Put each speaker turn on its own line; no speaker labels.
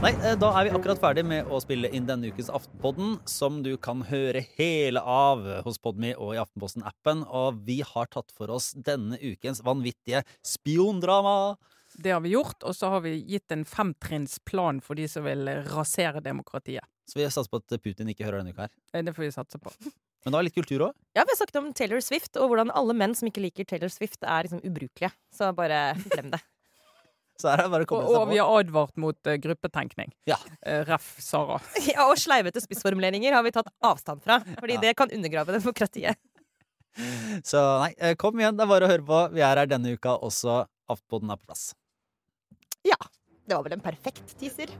Nei, eh, da er vi akkurat ferdig med å spille inn denne ukens Aftenpodden, som du kan høre hele av hos Podme og i Aftenposten-appen. Og vi har tatt for oss denne ukens vanvittige spiondrama.
Det har vi gjort, og så har vi gitt en femtrinnsplan for de som vil rasere demokratiet.
Så vi satser på at Putin ikke hører denne uka her.
Eh, Det får vi satse på.
Men da er litt kultur òg.
Ja, vi har snakket om Taylor Swift, og hvordan alle menn som ikke liker Taylor Swift, er liksom ubrukelige. Så bare glem det.
Så her er det bare å
Og,
komme
og vi
seg på.
har advart mot eh, gruppetenkning.
Ja.
Eh, Ref. Sara.
Ja, Og sleivete spissformuleringer har vi tatt avstand fra, fordi
Ja.
det kan undergrave demokratiet.
Så nei, eh, kom igjen, det er bare å høre på. Vi er her denne uka også. Aftenpodden er på plass.
Ja. Det var vel en perfekt teaser.